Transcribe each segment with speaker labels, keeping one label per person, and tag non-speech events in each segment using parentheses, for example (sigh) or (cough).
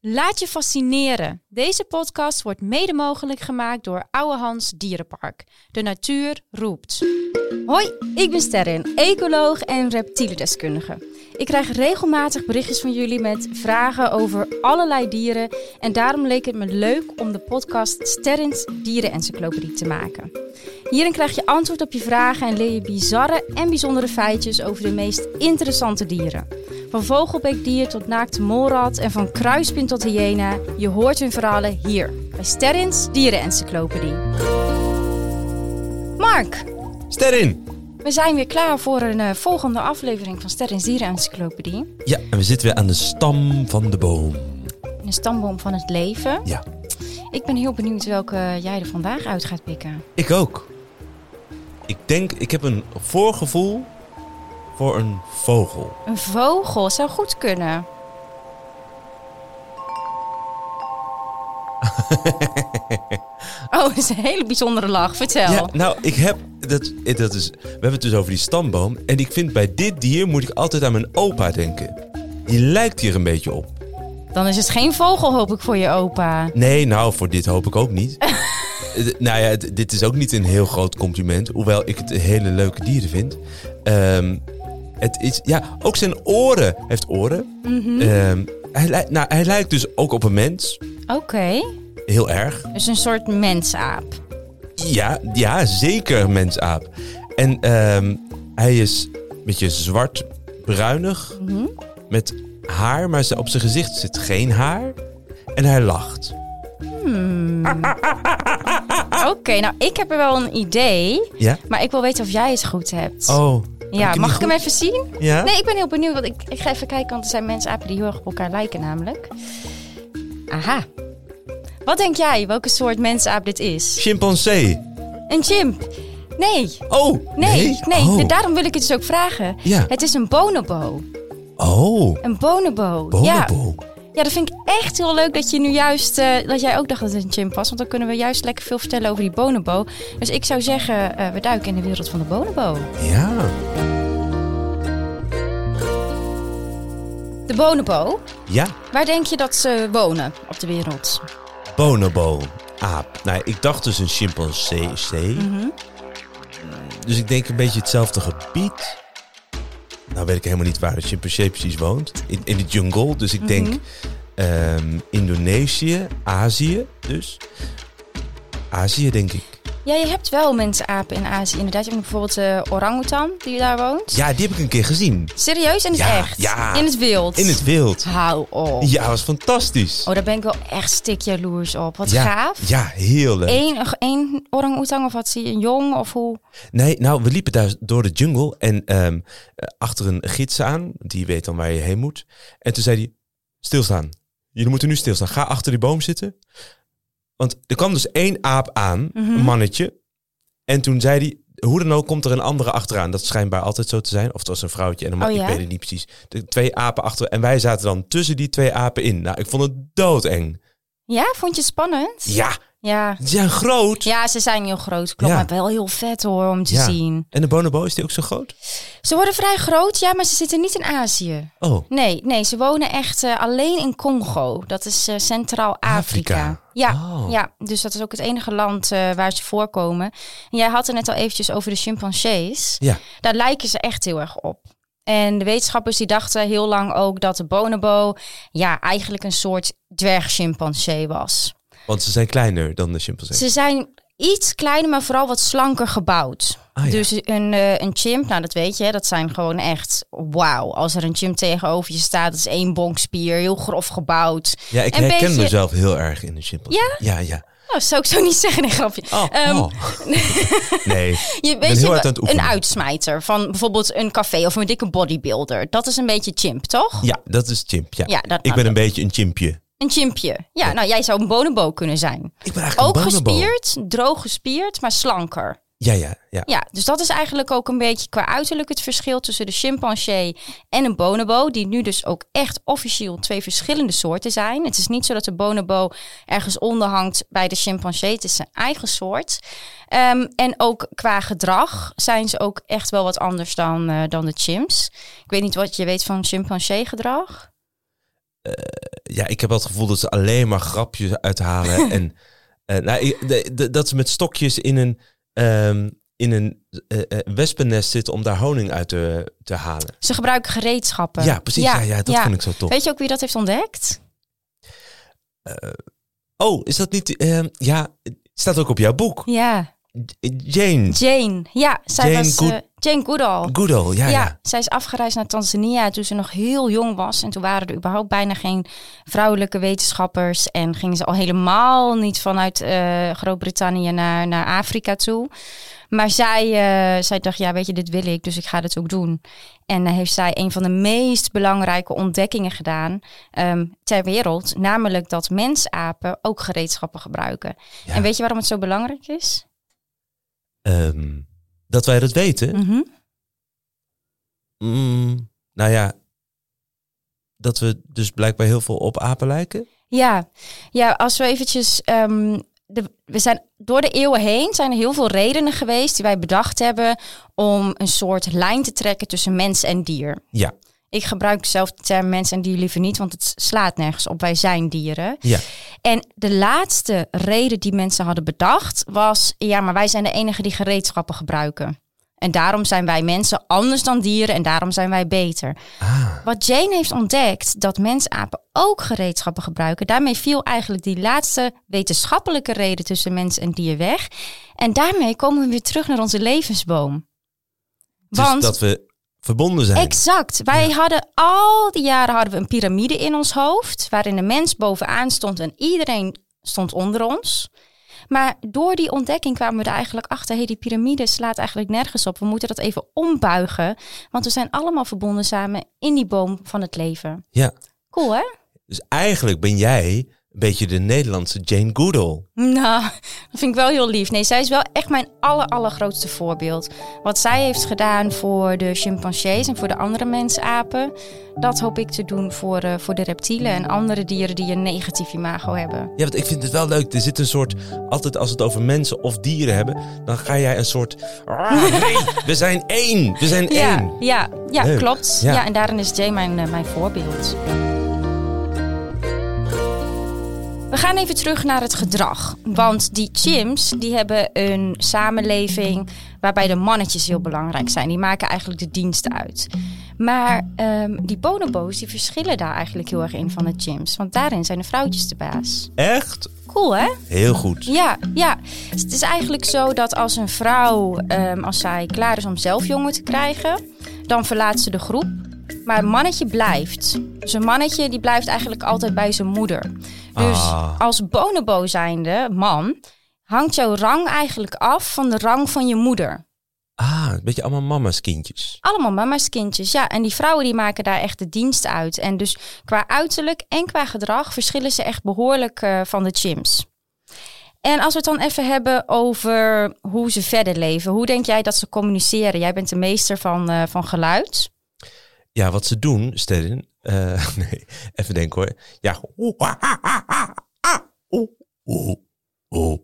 Speaker 1: Laat je fascineren. Deze podcast wordt mede mogelijk gemaakt door Oude Hans Dierenpark. De natuur roept.
Speaker 2: Hoi, ik ben Sterren, ecoloog en reptielendeskundige. Ik krijg regelmatig berichtjes van jullie met vragen over allerlei dieren. En daarom leek het me leuk om de podcast Sterrens Dierenencyclopedie te maken. Hierin krijg je antwoord op je vragen en leer je bizarre en bijzondere feitjes over de meest interessante dieren. Van vogelbeekdier tot naakte molrat en van kruispin tot hyena. Je hoort hun verhalen hier bij Sterrens Dierenencyclopedie. Mark,
Speaker 3: Sterrin!
Speaker 2: we zijn weer klaar voor een eh, volgende aflevering van Sterrens Dierenencyclopedie.
Speaker 3: Ja, en we zitten weer aan de stam van de boom.
Speaker 2: Een stamboom van het leven.
Speaker 3: Ja.
Speaker 2: Ik ben heel benieuwd welke jij er vandaag uit gaat pikken.
Speaker 3: Ik ook. Ik denk, ik heb een voorgevoel voor een vogel.
Speaker 2: Een vogel zou goed
Speaker 3: (laughs)
Speaker 2: kunnen. oh, dat is een hele bijzondere lach. Vertel.
Speaker 3: Ja, nou, ik heb. Dat, dat is, we hebben het dus over die stamboom. En ik vind bij dit dier moet ik altijd aan mijn opa denken. Die lijkt hier een beetje op.
Speaker 2: Dan is het geen vogel, hoop ik, voor je opa.
Speaker 3: Nee, nou, voor dit hoop ik ook
Speaker 2: (laughs)
Speaker 3: niet. Eh, nou ja, het- dit is ook niet een heel groot compliment. Hoewel ik het hele leuke dieren vind. Ehm, het is, ja, ook zijn oren. Hij heeft oren.
Speaker 2: Mhm.
Speaker 3: Ehm, hij, lijkt- nou, hij lijkt dus ook op een mens.
Speaker 2: Oké,
Speaker 3: Heel erg.
Speaker 2: dus een soort mensaap.
Speaker 3: Ja, ja zeker mensaap. En ehm, hij is een beetje zwart-bruinig.
Speaker 2: Mhm.
Speaker 3: Met haar, maar ze- op zijn gezicht zit geen haar. En hij lacht. Ah.
Speaker 2: Oké, nou, ik heb er wel een idee.
Speaker 3: Ja?
Speaker 2: Maar ik wil weten of jij het goed hebt.
Speaker 3: Oh.
Speaker 2: ja,
Speaker 3: het
Speaker 2: mag
Speaker 3: niet
Speaker 2: ik hem
Speaker 3: goed?
Speaker 2: even zien?
Speaker 3: Ja?
Speaker 2: Nee, ik ben heel benieuwd, want ik, ik ga even kijken, want er zijn mensapen die heel erg op elkaar lijken namelijk. Aha. Wat denk jij, welke soort mensaap dit is?
Speaker 3: Chimpansee.
Speaker 2: Een chimp? Nee,
Speaker 3: Oh.
Speaker 2: nee, nee.
Speaker 3: Oh.
Speaker 2: De- Daarom wil ik het dus ook vragen.
Speaker 3: Ja.
Speaker 2: Het is een bonobo.
Speaker 3: oh.
Speaker 2: Een bonobo. Ja.
Speaker 3: Bonobo.
Speaker 2: ja, dat vind ik echt heel leuk dat je nu juist, eh, dat jij ook dacht dat het een chimp was. Want dan kunnen we juist lekker veel vertellen over die bonobo. Dus ik zou zeggen, eh, we duiken in de wereld van de bonobo.
Speaker 3: Ja.
Speaker 2: De bonobo,
Speaker 3: Ja.
Speaker 2: waar denk je dat ze wonen op de wereld?
Speaker 3: Bonobo. Aap. Nou, ik dacht dus een chimpansee.
Speaker 2: Mhm.
Speaker 3: Mm, Dus ik denk een beetje hetzelfde gebied. Nou weet ik helemaal niet waar de chimpansee precies woont. In, in de jungle. Dus ik
Speaker 2: Mhm.
Speaker 3: denk ehm, Indonesië, Azië dus. Azië denk ik.
Speaker 2: Ja, je hebt wel mensapen in Azië inderdaad. Je hebt bijvoorbeeld de orangutan die daar woont.
Speaker 3: Ja, die heb ik een keer gezien.
Speaker 2: Serieus, in het
Speaker 3: Ja,
Speaker 2: echt?
Speaker 3: ja.
Speaker 2: In het wild?
Speaker 3: In het wild.
Speaker 2: Hou op.
Speaker 3: Ja, was fantastisch.
Speaker 2: Oh, daar ben ik wel echt stik jaloers op. Wat
Speaker 3: ja,
Speaker 2: gaaf.
Speaker 3: Ja, heel leuk.
Speaker 2: Eén, één orang-oetang of had ze een jong of hoe?
Speaker 3: Nee, nou, we liepen daar door de jungle en ehm, eh, achter een gids aan. Die weet dan waar je heen moet. En toen zei hij, stilstaan. Jullie moeten nu stilstaan. Ga achter die boom zitten. Want er kwam dus één aap aan,
Speaker 2: Mhm.
Speaker 3: een mannetje. En toen zei hij, hoe dan ook komt er een andere achteraan. Dat is schijnbaar altijd zo te zijn. Of het was een vrouwtje en een man,
Speaker 2: Oh ja?
Speaker 3: ik weet het niet precies. De twee apen achter. En wij zaten dan tussen die twee apen in. Nou, ik vond het doodeng.
Speaker 2: Ja, vond je het spannend?
Speaker 3: Ja,
Speaker 2: Ja,
Speaker 3: ze zijn groot.
Speaker 2: Ja, ze zijn heel groot, klopt.
Speaker 3: Ja.
Speaker 2: Maar wel heel vet hoor, om te
Speaker 3: Ja.
Speaker 2: zien.
Speaker 3: En de bonobo, is die ook zo groot?
Speaker 2: Ze worden vrij groot, ja, maar ze zitten niet in Azië.
Speaker 3: Oh,
Speaker 2: Nee, nee, ze wonen echt eh, alleen in Congo. Dat is eh, Centraal-Afrika.
Speaker 3: Afrika.
Speaker 2: Ja,
Speaker 3: Oh.
Speaker 2: ja, dus dat is ook het enige land eh, waar ze voorkomen. En jij had het net al eventjes over de chimpansees.
Speaker 3: ja.
Speaker 2: Daar lijken ze echt heel erg op. En de wetenschappers die dachten heel lang ook dat de bonobo... ja, eigenlijk een soort dwergchimpansee was.
Speaker 3: Want ze zijn kleiner dan de chimpansee.
Speaker 2: Ze zijn iets kleiner, maar vooral wat slanker gebouwd.
Speaker 3: Ah, ja.
Speaker 2: Dus een, eh, een chimp, nou dat weet je, dat zijn gewoon echt wauw. Als er een chimp tegenover je staat, dat is één bonkspier, heel grof gebouwd.
Speaker 3: Ja, ik
Speaker 2: Een
Speaker 3: herken
Speaker 2: beetje-
Speaker 3: mezelf heel erg in de chimpansee. Ja? Ja, ja.
Speaker 2: Nou, zou ik zo niet (laughs) zeggen, een grapje.
Speaker 3: Oh,
Speaker 2: Ehm,
Speaker 3: oh. (laughs) nee.
Speaker 2: Je
Speaker 3: ben
Speaker 2: weet
Speaker 3: heel
Speaker 2: je,
Speaker 3: hard aan het
Speaker 2: een
Speaker 3: oefenen.
Speaker 2: uitsmijter van bijvoorbeeld een café of een dikke bodybuilder. Dat is een beetje chimp, toch?
Speaker 3: Ja, dat is chimp. Ja.
Speaker 2: Ja, dat-
Speaker 3: ik ben een beetje een chimpje.
Speaker 2: Een chimpje. Ja, nou jij zou een bonobo kunnen zijn.
Speaker 3: Ik ben eigenlijk
Speaker 2: Ook
Speaker 3: een bonobo.
Speaker 2: gespierd, droog gespierd, maar slanker.
Speaker 3: Ja, ja, ja.
Speaker 2: Ja, dus dat is eigenlijk ook een beetje qua uiterlijk het verschil tussen de chimpansee en een bonobo, die nu dus ook echt officieel twee verschillende soorten zijn. Het is niet zo dat de bonobo ergens onder hangt bij de chimpansee, het is zijn eigen soort. Ehm, en ook qua gedrag zijn ze ook echt wel wat anders dan, eh, dan de chimps. Ik weet niet wat je weet van chimpansee gedrag.
Speaker 3: eh, ja, ik heb wel het gevoel dat ze alleen maar grapjes
Speaker 2: (laughs)
Speaker 3: uithalen. en eh, nou, ik- de- de- dat ze met stokjes in een, ehm, in een eh, eh, wespennest zitten om daar honing uit te, te halen.
Speaker 2: Ze gebruiken gereedschappen.
Speaker 3: Ja, precies. Ja, ja, dat
Speaker 2: ja.
Speaker 3: vond ik zo tof.
Speaker 2: Weet je ook wie dat heeft ontdekt?
Speaker 3: Oh, is dat niet... ehm, ja, het staat ook op jouw boek.
Speaker 2: Ja,
Speaker 3: Jane
Speaker 2: Jane. Ja, zij
Speaker 3: Jane
Speaker 2: was
Speaker 3: Good-
Speaker 2: eh, Jane Goodall.
Speaker 3: Goodall,
Speaker 2: Ja,
Speaker 3: ja, ja.
Speaker 2: zij is afgereisd naar Tanzania toen ze nog heel jong was. En toen waren er überhaupt bijna geen vrouwelijke wetenschappers. En gingen ze al helemaal niet vanuit eh, Groot-Brittannië naar, naar Afrika toe. Maar zij, eh, zij dacht, ja weet je, dit wil ik, dus ik ga dit ook doen. En eh, heeft zij een van de meest belangrijke ontdekkingen gedaan ehm, ter wereld. Namelijk dat mensapen ook gereedschappen gebruiken.
Speaker 3: Ja.
Speaker 2: En weet je waarom het zo belangrijk is?
Speaker 3: Ehm, dat wij dat weten.
Speaker 2: Mhm.
Speaker 3: Mm, nou ja, dat we dus blijkbaar heel veel op apen lijken.
Speaker 2: Ja, ja als we eventjes... ehm, de, we zijn door de eeuwen heen zijn er heel veel redenen geweest die wij bedacht hebben om een soort lijn te trekken tussen mens en dier.
Speaker 3: Ja.
Speaker 2: Ik gebruik zelf de term mens en dier liever niet, want het slaat nergens op. Wij zijn dieren.
Speaker 3: Ja.
Speaker 2: En de laatste reden die mensen hadden bedacht was, ja, maar wij zijn de enige die gereedschappen gebruiken. En daarom zijn wij mensen anders dan dieren en daarom zijn wij beter.
Speaker 3: Ah.
Speaker 2: Wat Jane heeft ontdekt, dat mensapen ook gereedschappen gebruiken. Daarmee viel eigenlijk die laatste wetenschappelijke reden tussen mens en dier weg. En daarmee komen we weer terug naar onze levensboom.
Speaker 3: Dus
Speaker 2: Want
Speaker 3: dat we verbonden zijn.
Speaker 2: Exact. Wij hadden al die jaren hadden we een piramide in ons hoofd, waarin de mens bovenaan stond en iedereen stond onder ons. Maar door die ontdekking kwamen we er eigenlijk achter, hey, die piramide slaat eigenlijk nergens op. We moeten dat even ombuigen, want we zijn allemaal verbonden samen in die boom van het leven.
Speaker 3: Ja.
Speaker 2: Cool, hè?
Speaker 3: Dus eigenlijk ben jij een beetje de Nederlandse Jane Goodall.
Speaker 2: Nou, dat vind ik wel heel lief. Nee, zij is wel echt mijn aller, allergrootste voorbeeld. Wat zij heeft gedaan voor de chimpansees en voor de andere mensapen... dat hoop ik te doen voor, eh, voor de reptielen en andere dieren die een negatief imago hebben.
Speaker 3: Ja, want ik vind het wel leuk. Er zit een soort, altijd als we het over mensen of dieren hebben, dan ga jij een soort,
Speaker 2: (laughs)
Speaker 3: "Ah, nee, we zijn één, we zijn
Speaker 2: Ja,
Speaker 3: één.
Speaker 2: ja, ja
Speaker 3: Leuk.
Speaker 2: klopt.
Speaker 3: Ja.
Speaker 2: Ja. en daarin is Jay mijn, eh, mijn voorbeeld. We gaan even terug naar het gedrag. Want die chimps die hebben een samenleving waarbij de mannetjes heel belangrijk zijn. Die maken eigenlijk de diensten uit. Maar ehm, die bonobo's die verschillen daar eigenlijk heel erg in van de chimps. Want daarin zijn de vrouwtjes de baas.
Speaker 3: Echt?
Speaker 2: Cool hè?
Speaker 3: Heel goed.
Speaker 2: Ja, ja. Dus het is eigenlijk zo dat als een vrouw, ehm, als zij klaar is om zelf jongen te krijgen, dan verlaat ze de groep. Maar een mannetje blijft. Dus een mannetje die blijft eigenlijk altijd bij zijn moeder. Dus
Speaker 3: Ah.
Speaker 2: als bonobo zijnde man, hangt jouw rang eigenlijk af van de rang van je moeder.
Speaker 3: Ah, een beetje allemaal mama's kindjes.
Speaker 2: Allemaal mama's kindjes, ja. En die vrouwen die maken daar echt de dienst uit. En dus qua uiterlijk en qua gedrag verschillen ze echt behoorlijk eh, van de chimps. En als we het dan even hebben over hoe ze verder leven. Hoe denk jij dat ze communiceren? Jij bent de meester van, eh, van geluid.
Speaker 3: Ja, wat ze doen, Sterren. eh, (laughs) nee, even denken hoor. Ja. oeh, ah, ah, ah, ah, ah, oeh, oeh, oeh.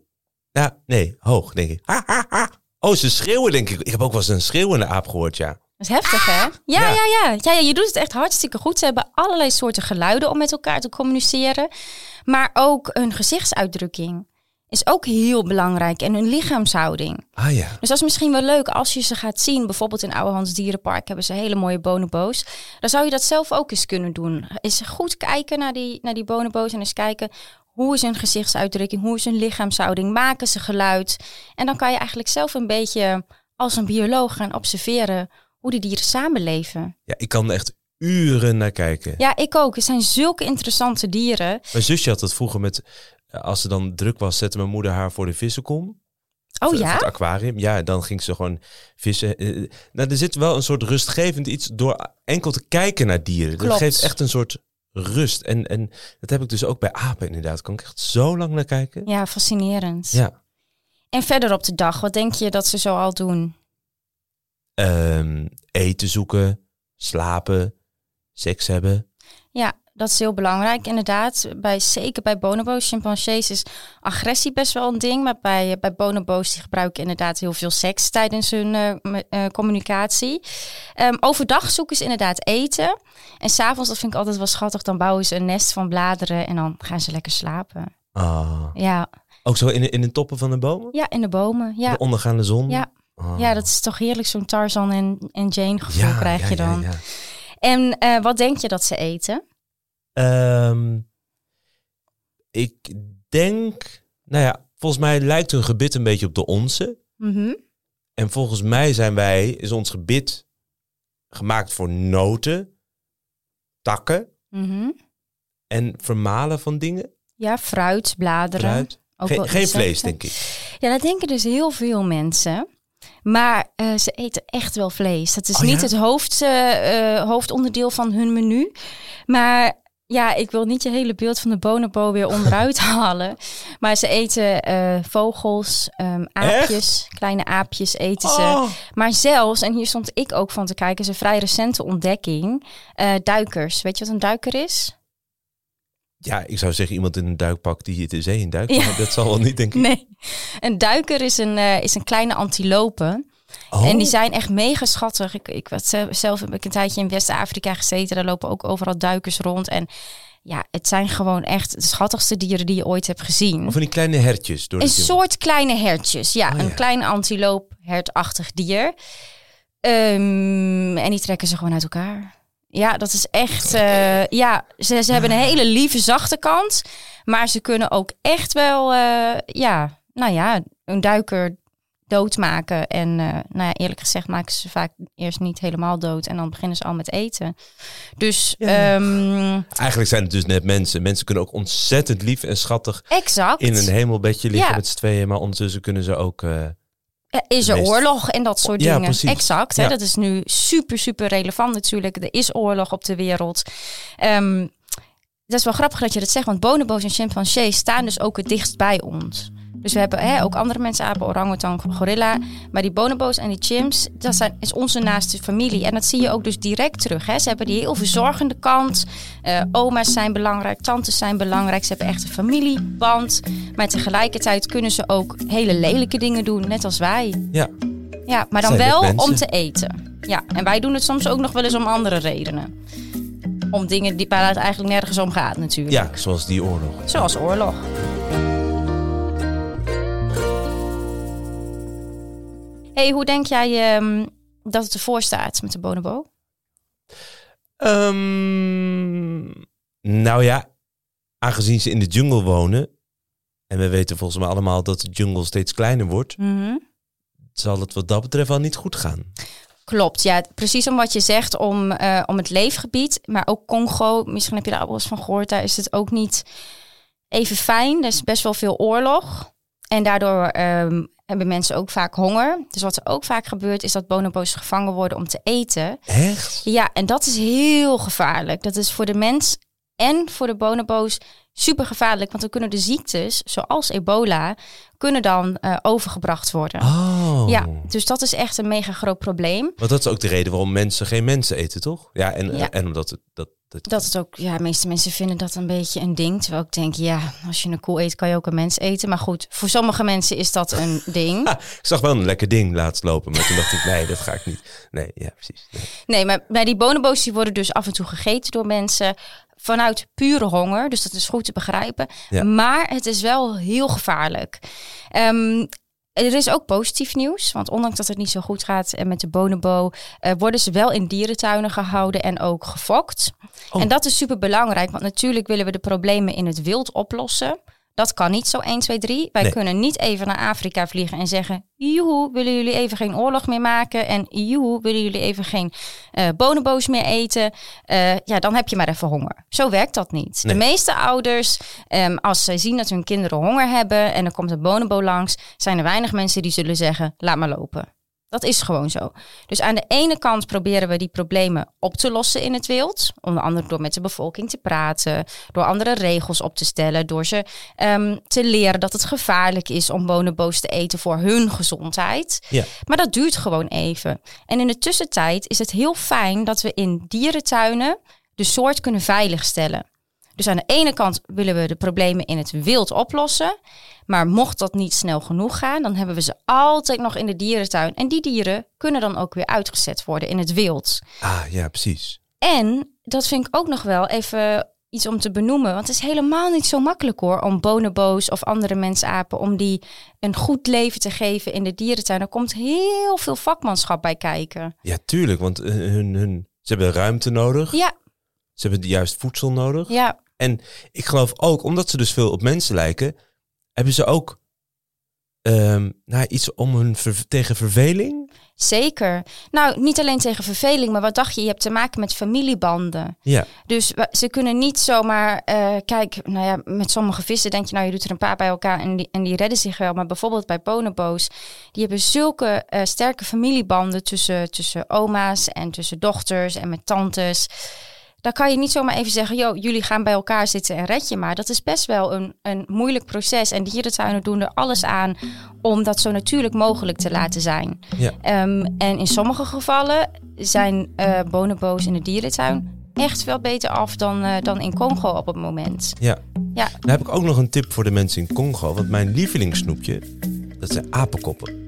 Speaker 3: Ja, nee, hoog denk ik. Ah, ah, ah. Oh, ze schreeuwen denk ik. Ik heb ook wel eens een schreeuwende aap gehoord, ja.
Speaker 2: Dat is heftig, hè?
Speaker 3: Ja.
Speaker 2: Ja, ja. Ja, ja. ja, je doet het echt hartstikke goed. Ze hebben allerlei soorten geluiden om met elkaar te communiceren. Maar ook hun gezichtsuitdrukking is ook heel belangrijk. En hun lichaamshouding.
Speaker 3: Ah ja.
Speaker 2: Dus dat is misschien wel leuk als je ze gaat zien. Bijvoorbeeld in Ouwehands Dierenpark hebben ze hele mooie bonobo's. Dan zou je dat zelf ook eens kunnen doen. Is goed kijken naar die, naar die bonobo's en eens kijken... Hoe is hun gezichtsuitdrukking? Hoe is hun lichaamshouding? Maken ze geluid? En dan kan je eigenlijk zelf een beetje als een bioloog gaan observeren hoe die dieren samenleven.
Speaker 3: Ja, ik kan er echt uren naar kijken.
Speaker 2: Ja, ik ook. Het zijn zulke interessante dieren.
Speaker 3: Mijn zusje had dat vroeger met, eh, als ze dan druk was, zette mijn moeder haar voor de vissenkom.
Speaker 2: Oh
Speaker 3: Of
Speaker 2: ja?
Speaker 3: het aquarium. Ja, dan ging ze gewoon vissen. Eh, Nou, er zit wel een soort rustgevend iets door enkel te kijken naar dieren. Dat
Speaker 2: Klopt.
Speaker 3: geeft echt een soort rust. En, en dat heb ik dus ook bij apen inderdaad. Kan ik echt zo lang naar kijken.
Speaker 2: Ja, fascinerend.
Speaker 3: Ja.
Speaker 2: En verder op de dag, wat denk je dat ze zo al doen?
Speaker 3: Ehm, eten zoeken, slapen, seks hebben.
Speaker 2: Ja, dat is heel belangrijk. Inderdaad, bij, zeker bij bonobo's, chimpansees is agressie best wel een ding. Maar bij, bij bonobo's die gebruiken inderdaad heel veel seks tijdens hun eh, me- eh, communicatie. Ehm, overdag zoeken ze inderdaad eten. En s'avonds, dat vind ik altijd wel schattig, dan bouwen ze een nest van bladeren en dan gaan ze lekker slapen.
Speaker 3: Ah.
Speaker 2: Ja,
Speaker 3: Ook zo in, de- in de toppen van de bomen?
Speaker 2: ja in de bomen. Ja.
Speaker 3: De ondergaande zon?
Speaker 2: Ja.
Speaker 3: Ah.
Speaker 2: ja, dat is toch heerlijk zo'n Tarzan en, en Jane gevoel
Speaker 3: Ja,
Speaker 2: krijg
Speaker 3: ja,
Speaker 2: je
Speaker 3: ja,
Speaker 2: dan.
Speaker 3: ja.
Speaker 2: En eh, wat denk je dat ze eten?
Speaker 3: Ehm, ik denk, nou ja, volgens mij lijkt hun gebit een beetje op de onze.
Speaker 2: Mhm.
Speaker 3: En volgens mij zijn wij, is ons gebit gemaakt voor noten, takken
Speaker 2: Mhm.
Speaker 3: en vermalen van dingen.
Speaker 2: Ja, fruit, bladeren.
Speaker 3: Fruit.
Speaker 2: Ook
Speaker 3: Geen,
Speaker 2: wel
Speaker 3: geen
Speaker 2: insecten.
Speaker 3: vlees, denk ik.
Speaker 2: Ja, dat denken dus heel veel mensen. Maar eh, ze eten echt wel vlees. Dat is
Speaker 3: Oh,
Speaker 2: niet
Speaker 3: ja?
Speaker 2: het hoofd, eh, eh, hoofdonderdeel van hun menu. Maar ja, ik wil niet je hele beeld van de bonobo weer
Speaker 3: (laughs)
Speaker 2: onderuit halen. Maar ze eten eh, vogels, ehm, aapjes, kleine aapjes eten ze.
Speaker 3: Oh,
Speaker 2: Maar zelfs, en hier stond ik ook van te kijken, is een vrij recente ontdekking. eh, duikers. Weet je wat een duiker is?
Speaker 3: ja, ik zou zeggen iemand in een duikpak die de zee in duikt.
Speaker 2: Ja.
Speaker 3: maar Dat zal wel niet, denk ik.
Speaker 2: Nee. Een duiker is een, eh, is een kleine antilope.
Speaker 3: Oh,
Speaker 2: En die zijn echt mega schattig. Ik, ik werd zelf, zelf heb ik een tijdje in West-Afrika gezeten. Daar lopen ook overal duikers rond. En ja, het zijn gewoon echt de schattigste dieren die je ooit hebt gezien.
Speaker 3: Of van die kleine hertjes. Door de
Speaker 2: Een
Speaker 3: jungle.
Speaker 2: soort kleine hertjes. Ja,
Speaker 3: Oh, ja.
Speaker 2: een klein antiloop, hertachtig dier. Ehm, en die trekken ze gewoon uit elkaar. Ja, dat is echt. eh, ja, ze, ze hebben een hele lieve, zachte kant. Maar ze kunnen ook echt wel. eh, ja, nou ja, een duiker doodmaken. En eh, nou ja, eerlijk gezegd maken ze vaak eerst niet helemaal dood. En dan beginnen ze al met eten. Dus
Speaker 3: Ja.
Speaker 2: ehm,
Speaker 3: Eigenlijk zijn het dus net mensen. Mensen kunnen ook ontzettend lief en schattig
Speaker 2: exact.
Speaker 3: in een hemelbedje liggen
Speaker 2: Ja.
Speaker 3: met z'n tweeën. Maar ondertussen kunnen ze ook... eh,
Speaker 2: Ja, is er
Speaker 3: meest-
Speaker 2: oorlog en dat soort
Speaker 3: Ja,
Speaker 2: dingen.
Speaker 3: precies.
Speaker 2: Exact. Hè?
Speaker 3: Ja.
Speaker 2: Dat is nu super, super relevant natuurlijk. Er is oorlog op de wereld. Ehm, dat is wel grappig dat je dat zegt, want bonobo's en chimpansees staan dus ook het dichtst bij ons. Dus we hebben hè, ook andere mensen, apen, orangutan, gorilla. Maar die bonobo's en die chimps, dat zijn, is onze naaste familie. En dat zie je ook dus direct terug. Hè. Ze hebben die heel verzorgende kant. Eh, oma's zijn belangrijk, tantes zijn belangrijk. Ze hebben echt een familieband. Maar tegelijkertijd kunnen ze ook hele lelijke dingen doen, net als wij.
Speaker 3: ja,
Speaker 2: Ja, maar dan
Speaker 3: Zijn dit
Speaker 2: wel
Speaker 3: mensen?
Speaker 2: om te eten. Ja, en wij doen het soms ook nog wel eens om andere redenen. Om dingen die waar het eigenlijk nergens om gaat natuurlijk.
Speaker 3: ja, zoals die oorlog.
Speaker 2: Zoals oorlog. hey, hoe denk jij ehm, dat het ervoor staat met de bonobo?
Speaker 3: Ehm, nou ja, aangezien ze in de jungle wonen. En we weten volgens mij allemaal dat de jungle steeds kleiner wordt. Zal het wat dat betreft wel niet goed gaan.
Speaker 2: Klopt, ja. Precies om wat je zegt, om, eh, om het leefgebied. Maar ook Congo, misschien heb je daar al wel eens van gehoord, daar is het ook niet even fijn. Er is best wel veel oorlog. En daardoor ehm, hebben mensen ook vaak honger. Dus wat er ook vaak gebeurt, is dat bonobo's gevangen worden om te eten.
Speaker 3: Echt?
Speaker 2: Ja, en dat is heel gevaarlijk. Dat is voor de mens en voor de bonobo's super gevaarlijk. Want dan kunnen de ziektes, zoals ebola, kunnen dan eh, overgebracht worden.
Speaker 3: Oh.
Speaker 2: Ja, dus dat is echt een mega groot probleem.
Speaker 3: Want dat is ook de reden waarom mensen geen mensen eten, toch? Ja, en, eh,
Speaker 2: Ja.
Speaker 3: en omdat het... Dat, dat...
Speaker 2: Dat het ook, ja, de meeste mensen vinden dat een beetje een ding. Terwijl ik denk, ja, als je een koe eet, kan je ook een mens eten. Maar goed, voor sommige mensen is dat een ding.
Speaker 3: Ha, Ah, ik zag wel een lekker ding laatst lopen, maar toen dacht ik, nee, dat ga ik niet. Nee, ja, precies. Nee.
Speaker 2: Nee, maar bij die bonobo's die worden dus af en toe gegeten door mensen vanuit pure honger. Dus dat is goed te begrijpen.
Speaker 3: Ja.
Speaker 2: Maar het is wel heel gevaarlijk. Ehm, er is ook positief nieuws, want ondanks dat het niet zo goed gaat eh, met de bonobo, eh, worden ze wel in dierentuinen gehouden en ook gefokt.
Speaker 3: Oh.
Speaker 2: En dat is super belangrijk, want natuurlijk willen we de problemen in het wild oplossen. Dat kan niet zo 1, 2, 3. Wij
Speaker 3: Nee.
Speaker 2: kunnen niet even naar Afrika vliegen en zeggen: Joehoe, willen jullie even geen oorlog meer maken? En joehoe, willen jullie even geen eh bonobo's meer eten? Eh, ja, dan heb je maar even honger. Zo werkt dat niet.
Speaker 3: Nee.
Speaker 2: De meeste ouders, ehm, als zij zien dat hun kinderen honger hebben en er komt een bonobo langs, zijn er weinig mensen die zullen zeggen: Laat maar lopen. Dat is gewoon zo. Dus aan de ene kant proberen we die problemen op te lossen in het wild. Onder andere door met de bevolking te praten, door andere regels op te stellen, door ze ehm, te leren dat het gevaarlijk is om bonobo's te eten voor hun gezondheid.
Speaker 3: Ja.
Speaker 2: Maar dat duurt gewoon even. En in de tussentijd is het heel fijn dat we in dierentuinen de soort kunnen veiligstellen. Dus aan de ene kant willen we de problemen in het wild oplossen. Maar mocht dat niet snel genoeg gaan, dan hebben we ze altijd nog in de dierentuin. En die dieren kunnen dan ook weer uitgezet worden in het wild.
Speaker 3: Ah, ja, precies.
Speaker 2: En dat vind ik ook nog wel even iets om te benoemen. Want het is helemaal niet zo makkelijk hoor om bonobo's of andere mensapen... om die een goed leven te geven in de dierentuin. Er komt heel veel vakmanschap bij kijken.
Speaker 3: Ja, tuurlijk, want eh, hun, hun, ze hebben ruimte nodig.
Speaker 2: Ja,
Speaker 3: Ze hebben juist voedsel nodig.
Speaker 2: ja.
Speaker 3: Ik geloof ook, omdat ze dus veel op mensen lijken, hebben ze ook ehm, nou, iets om hun ver- tegen verveling.
Speaker 2: Zeker. Nou, niet alleen tegen verveling, maar wat dacht je? Je hebt te maken met familiebanden.
Speaker 3: Ja.
Speaker 2: Dus wa- ze kunnen niet zomaar, eh, kijk, nou ja, met sommige vissen denk je, nou je doet er een paar bij elkaar en die, en die redden zich wel. Maar bijvoorbeeld bij bonobo's, die hebben zulke eh, sterke familiebanden tussen, tussen oma's en tussen dochters en met tantes. Dan kan je niet zomaar even zeggen, joh, jullie gaan bij elkaar zitten en red je maar. Dat is best wel een, een moeilijk proces. En dierentuinen doen er alles aan om dat zo natuurlijk mogelijk te laten zijn.
Speaker 3: Ja.
Speaker 2: Ehm, en in sommige gevallen zijn eh bonobo's in de dierentuin echt veel beter af dan, eh, dan in Congo op het moment.
Speaker 3: Ja.
Speaker 2: Ja.
Speaker 3: Dan heb ik ook nog een tip voor de mensen in Congo. Want mijn lievelingssnoepje, dat zijn apenkoppen.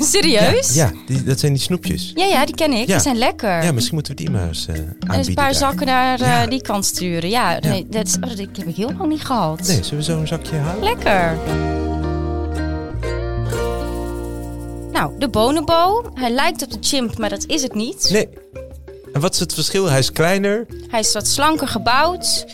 Speaker 2: Serieus?
Speaker 3: Ja, ja, die, dat zijn die snoepjes.
Speaker 2: ja, ja, die ken ik.
Speaker 3: Ja.
Speaker 2: Die zijn lekker.
Speaker 3: Ja, misschien moeten we die maar eens eh aanbieden.
Speaker 2: en eens een paar
Speaker 3: daar.
Speaker 2: zakken naar eh,
Speaker 3: Ja.
Speaker 2: die kant sturen. Ja, Nee, dat, is, oh, dat heb ik heel lang niet gehad.
Speaker 3: Nee, zullen we zo een zakje halen?
Speaker 2: Lekker. Nou, de bonobo. Hij lijkt op de chimp, maar dat is het niet.
Speaker 3: Nee. En wat is het verschil? Hij is kleiner.
Speaker 2: Hij is wat slanker gebouwd.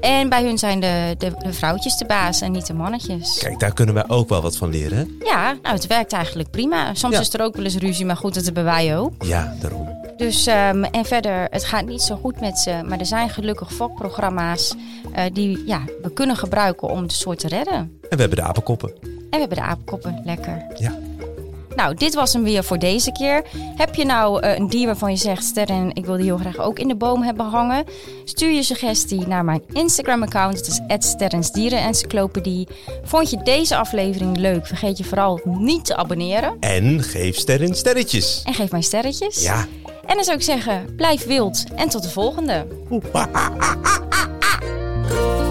Speaker 2: En bij hun zijn de, de, de vrouwtjes de baas en niet de mannetjes.
Speaker 3: Kijk, daar kunnen wij ook wel wat van leren. hè?
Speaker 2: Ja, nou, het werkt eigenlijk prima. Soms
Speaker 3: Ja.
Speaker 2: is er ook wel eens ruzie, maar goed, dat hebben wij ook.
Speaker 3: Ja, daarom.
Speaker 2: Dus, ehm, en verder, het gaat niet zo goed met ze. Maar er zijn gelukkig fokprogramma's eh, die ja, we kunnen gebruiken om de soort te redden.
Speaker 3: En we hebben de apenkoppen.
Speaker 2: En we hebben de aapkoppen, lekker.
Speaker 3: Ja.
Speaker 2: Nou, dit was hem weer voor deze keer. Heb je nou eh, een dier waarvan je zegt, Sterren, ik wil die heel graag ook in de boom hebben hangen? Stuur je suggestie naar mijn Instagram-account. Het is @sterrensdierenencyclopedie. Vond je deze aflevering leuk? Vergeet je vooral niet te abonneren.
Speaker 3: En geef sterren sterretjes.
Speaker 2: En geef mij sterretjes.
Speaker 3: Ja.
Speaker 2: En dan zou ik zeggen, blijf wild en tot de volgende.
Speaker 3: Oeh, ah, ah.